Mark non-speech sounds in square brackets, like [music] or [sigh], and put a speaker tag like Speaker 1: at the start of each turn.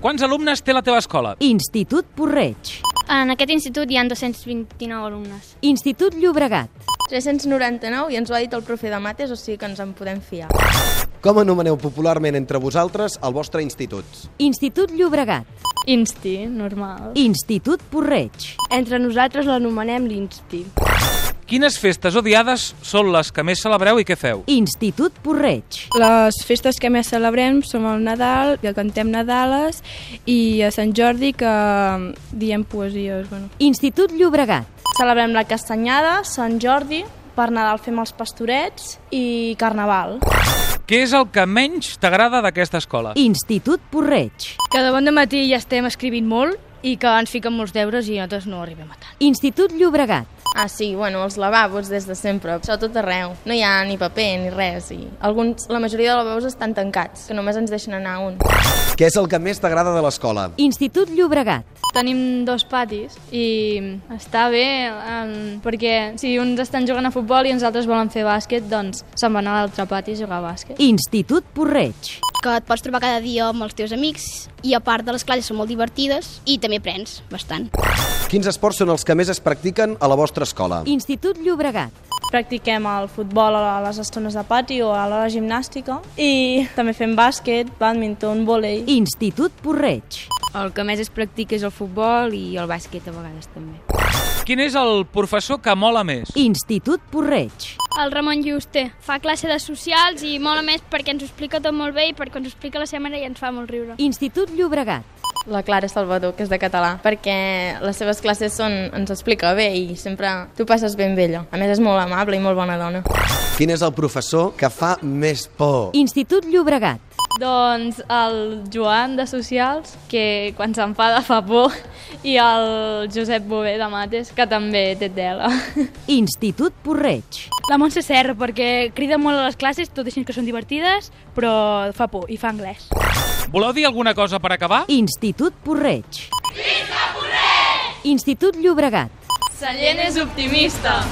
Speaker 1: Quants alumnes té la teva escola?
Speaker 2: Institut Porreig.
Speaker 3: En aquest institut hi han 229 alumnes.
Speaker 2: Institut Llobregat.
Speaker 4: 399 i ens ho ha dit el profe de mates, o sigui que ens en podem fiar.
Speaker 5: Com anomeneu popularment entre vosaltres el vostre institut?
Speaker 2: Institut Llobregat.
Speaker 6: Insti, normal.
Speaker 2: Institut Porreig.
Speaker 6: Entre nosaltres l'anomenem l'Insti.
Speaker 1: Quines festes odiades són les que més celebreu i què feu?
Speaker 2: Institut Porreig.
Speaker 6: Les festes que més celebrem són el Nadal, que cantem Nadales, i a Sant Jordi que um, diem poesies. Bueno.
Speaker 2: Institut Llobregat.
Speaker 4: Celebrem la castanyada, Sant Jordi, per Nadal fem els pastorets i Carnaval.
Speaker 1: Què és el que menys t'agrada d'aquesta escola?
Speaker 2: Institut Porreig.
Speaker 6: Que de bon de matí ja estem escrivint molt i que ens fiquen molts deures i nosaltres no arribem a tant.
Speaker 2: Institut Llobregat.
Speaker 4: Ah, sí, bueno, els lavabos des de sempre, això a tot arreu. No hi ha ni paper ni res i alguns, la majoria de lavabos estan tancats, que només ens deixen anar un.
Speaker 5: Què és el que més t'agrada de l'escola?
Speaker 2: Institut Llobregat.
Speaker 6: Tenim dos patis i està bé um, perquè si uns estan jugant a futbol i els altres volen fer bàsquet, doncs se'n van a l'altre pati a jugar a bàsquet.
Speaker 2: Institut Porreig.
Speaker 7: que et pots trobar cada dia amb els teus amics i a part de les classes són molt divertides i també aprens bastant.
Speaker 5: Quins esports són els que més es practiquen a la vostra escola?
Speaker 2: Institut Llobregat.
Speaker 4: Practiquem el futbol a les estones de pati o a l'hora de gimnàstica i també fem bàsquet, badminton, vòlei.
Speaker 2: Institut Porreig.
Speaker 6: El que més es practica és el futbol i el bàsquet a vegades també.
Speaker 1: Quin és el professor que mola més?
Speaker 2: Institut Porreig.
Speaker 3: El Ramon Lliuster fa classe de socials i mola més perquè ens ho explica tot molt bé i perquè ens ho explica la seva mare i ens fa molt riure.
Speaker 2: Institut Llobregat.
Speaker 4: La Clara Salvador, que és de català, perquè les seves classes són, ens explica bé i sempre tu passes ben vella. A més, és molt amable i molt bona dona.
Speaker 5: Quin és el professor que fa més por?
Speaker 2: Institut Llobregat.
Speaker 6: Doncs el Joan de Socials, que quan s'enfada fa por, i el Josep Bové de Mates, que també té tela. [laughs]
Speaker 2: Institut Porreig.
Speaker 6: La Montse Serra, perquè crida molt a les classes, tot i que són divertides, però fa por i fa anglès.
Speaker 1: Voleu dir alguna cosa per acabar?
Speaker 2: Institut Porreig. Visca Porreig! Institut Llobregat.
Speaker 6: Sallent és optimista.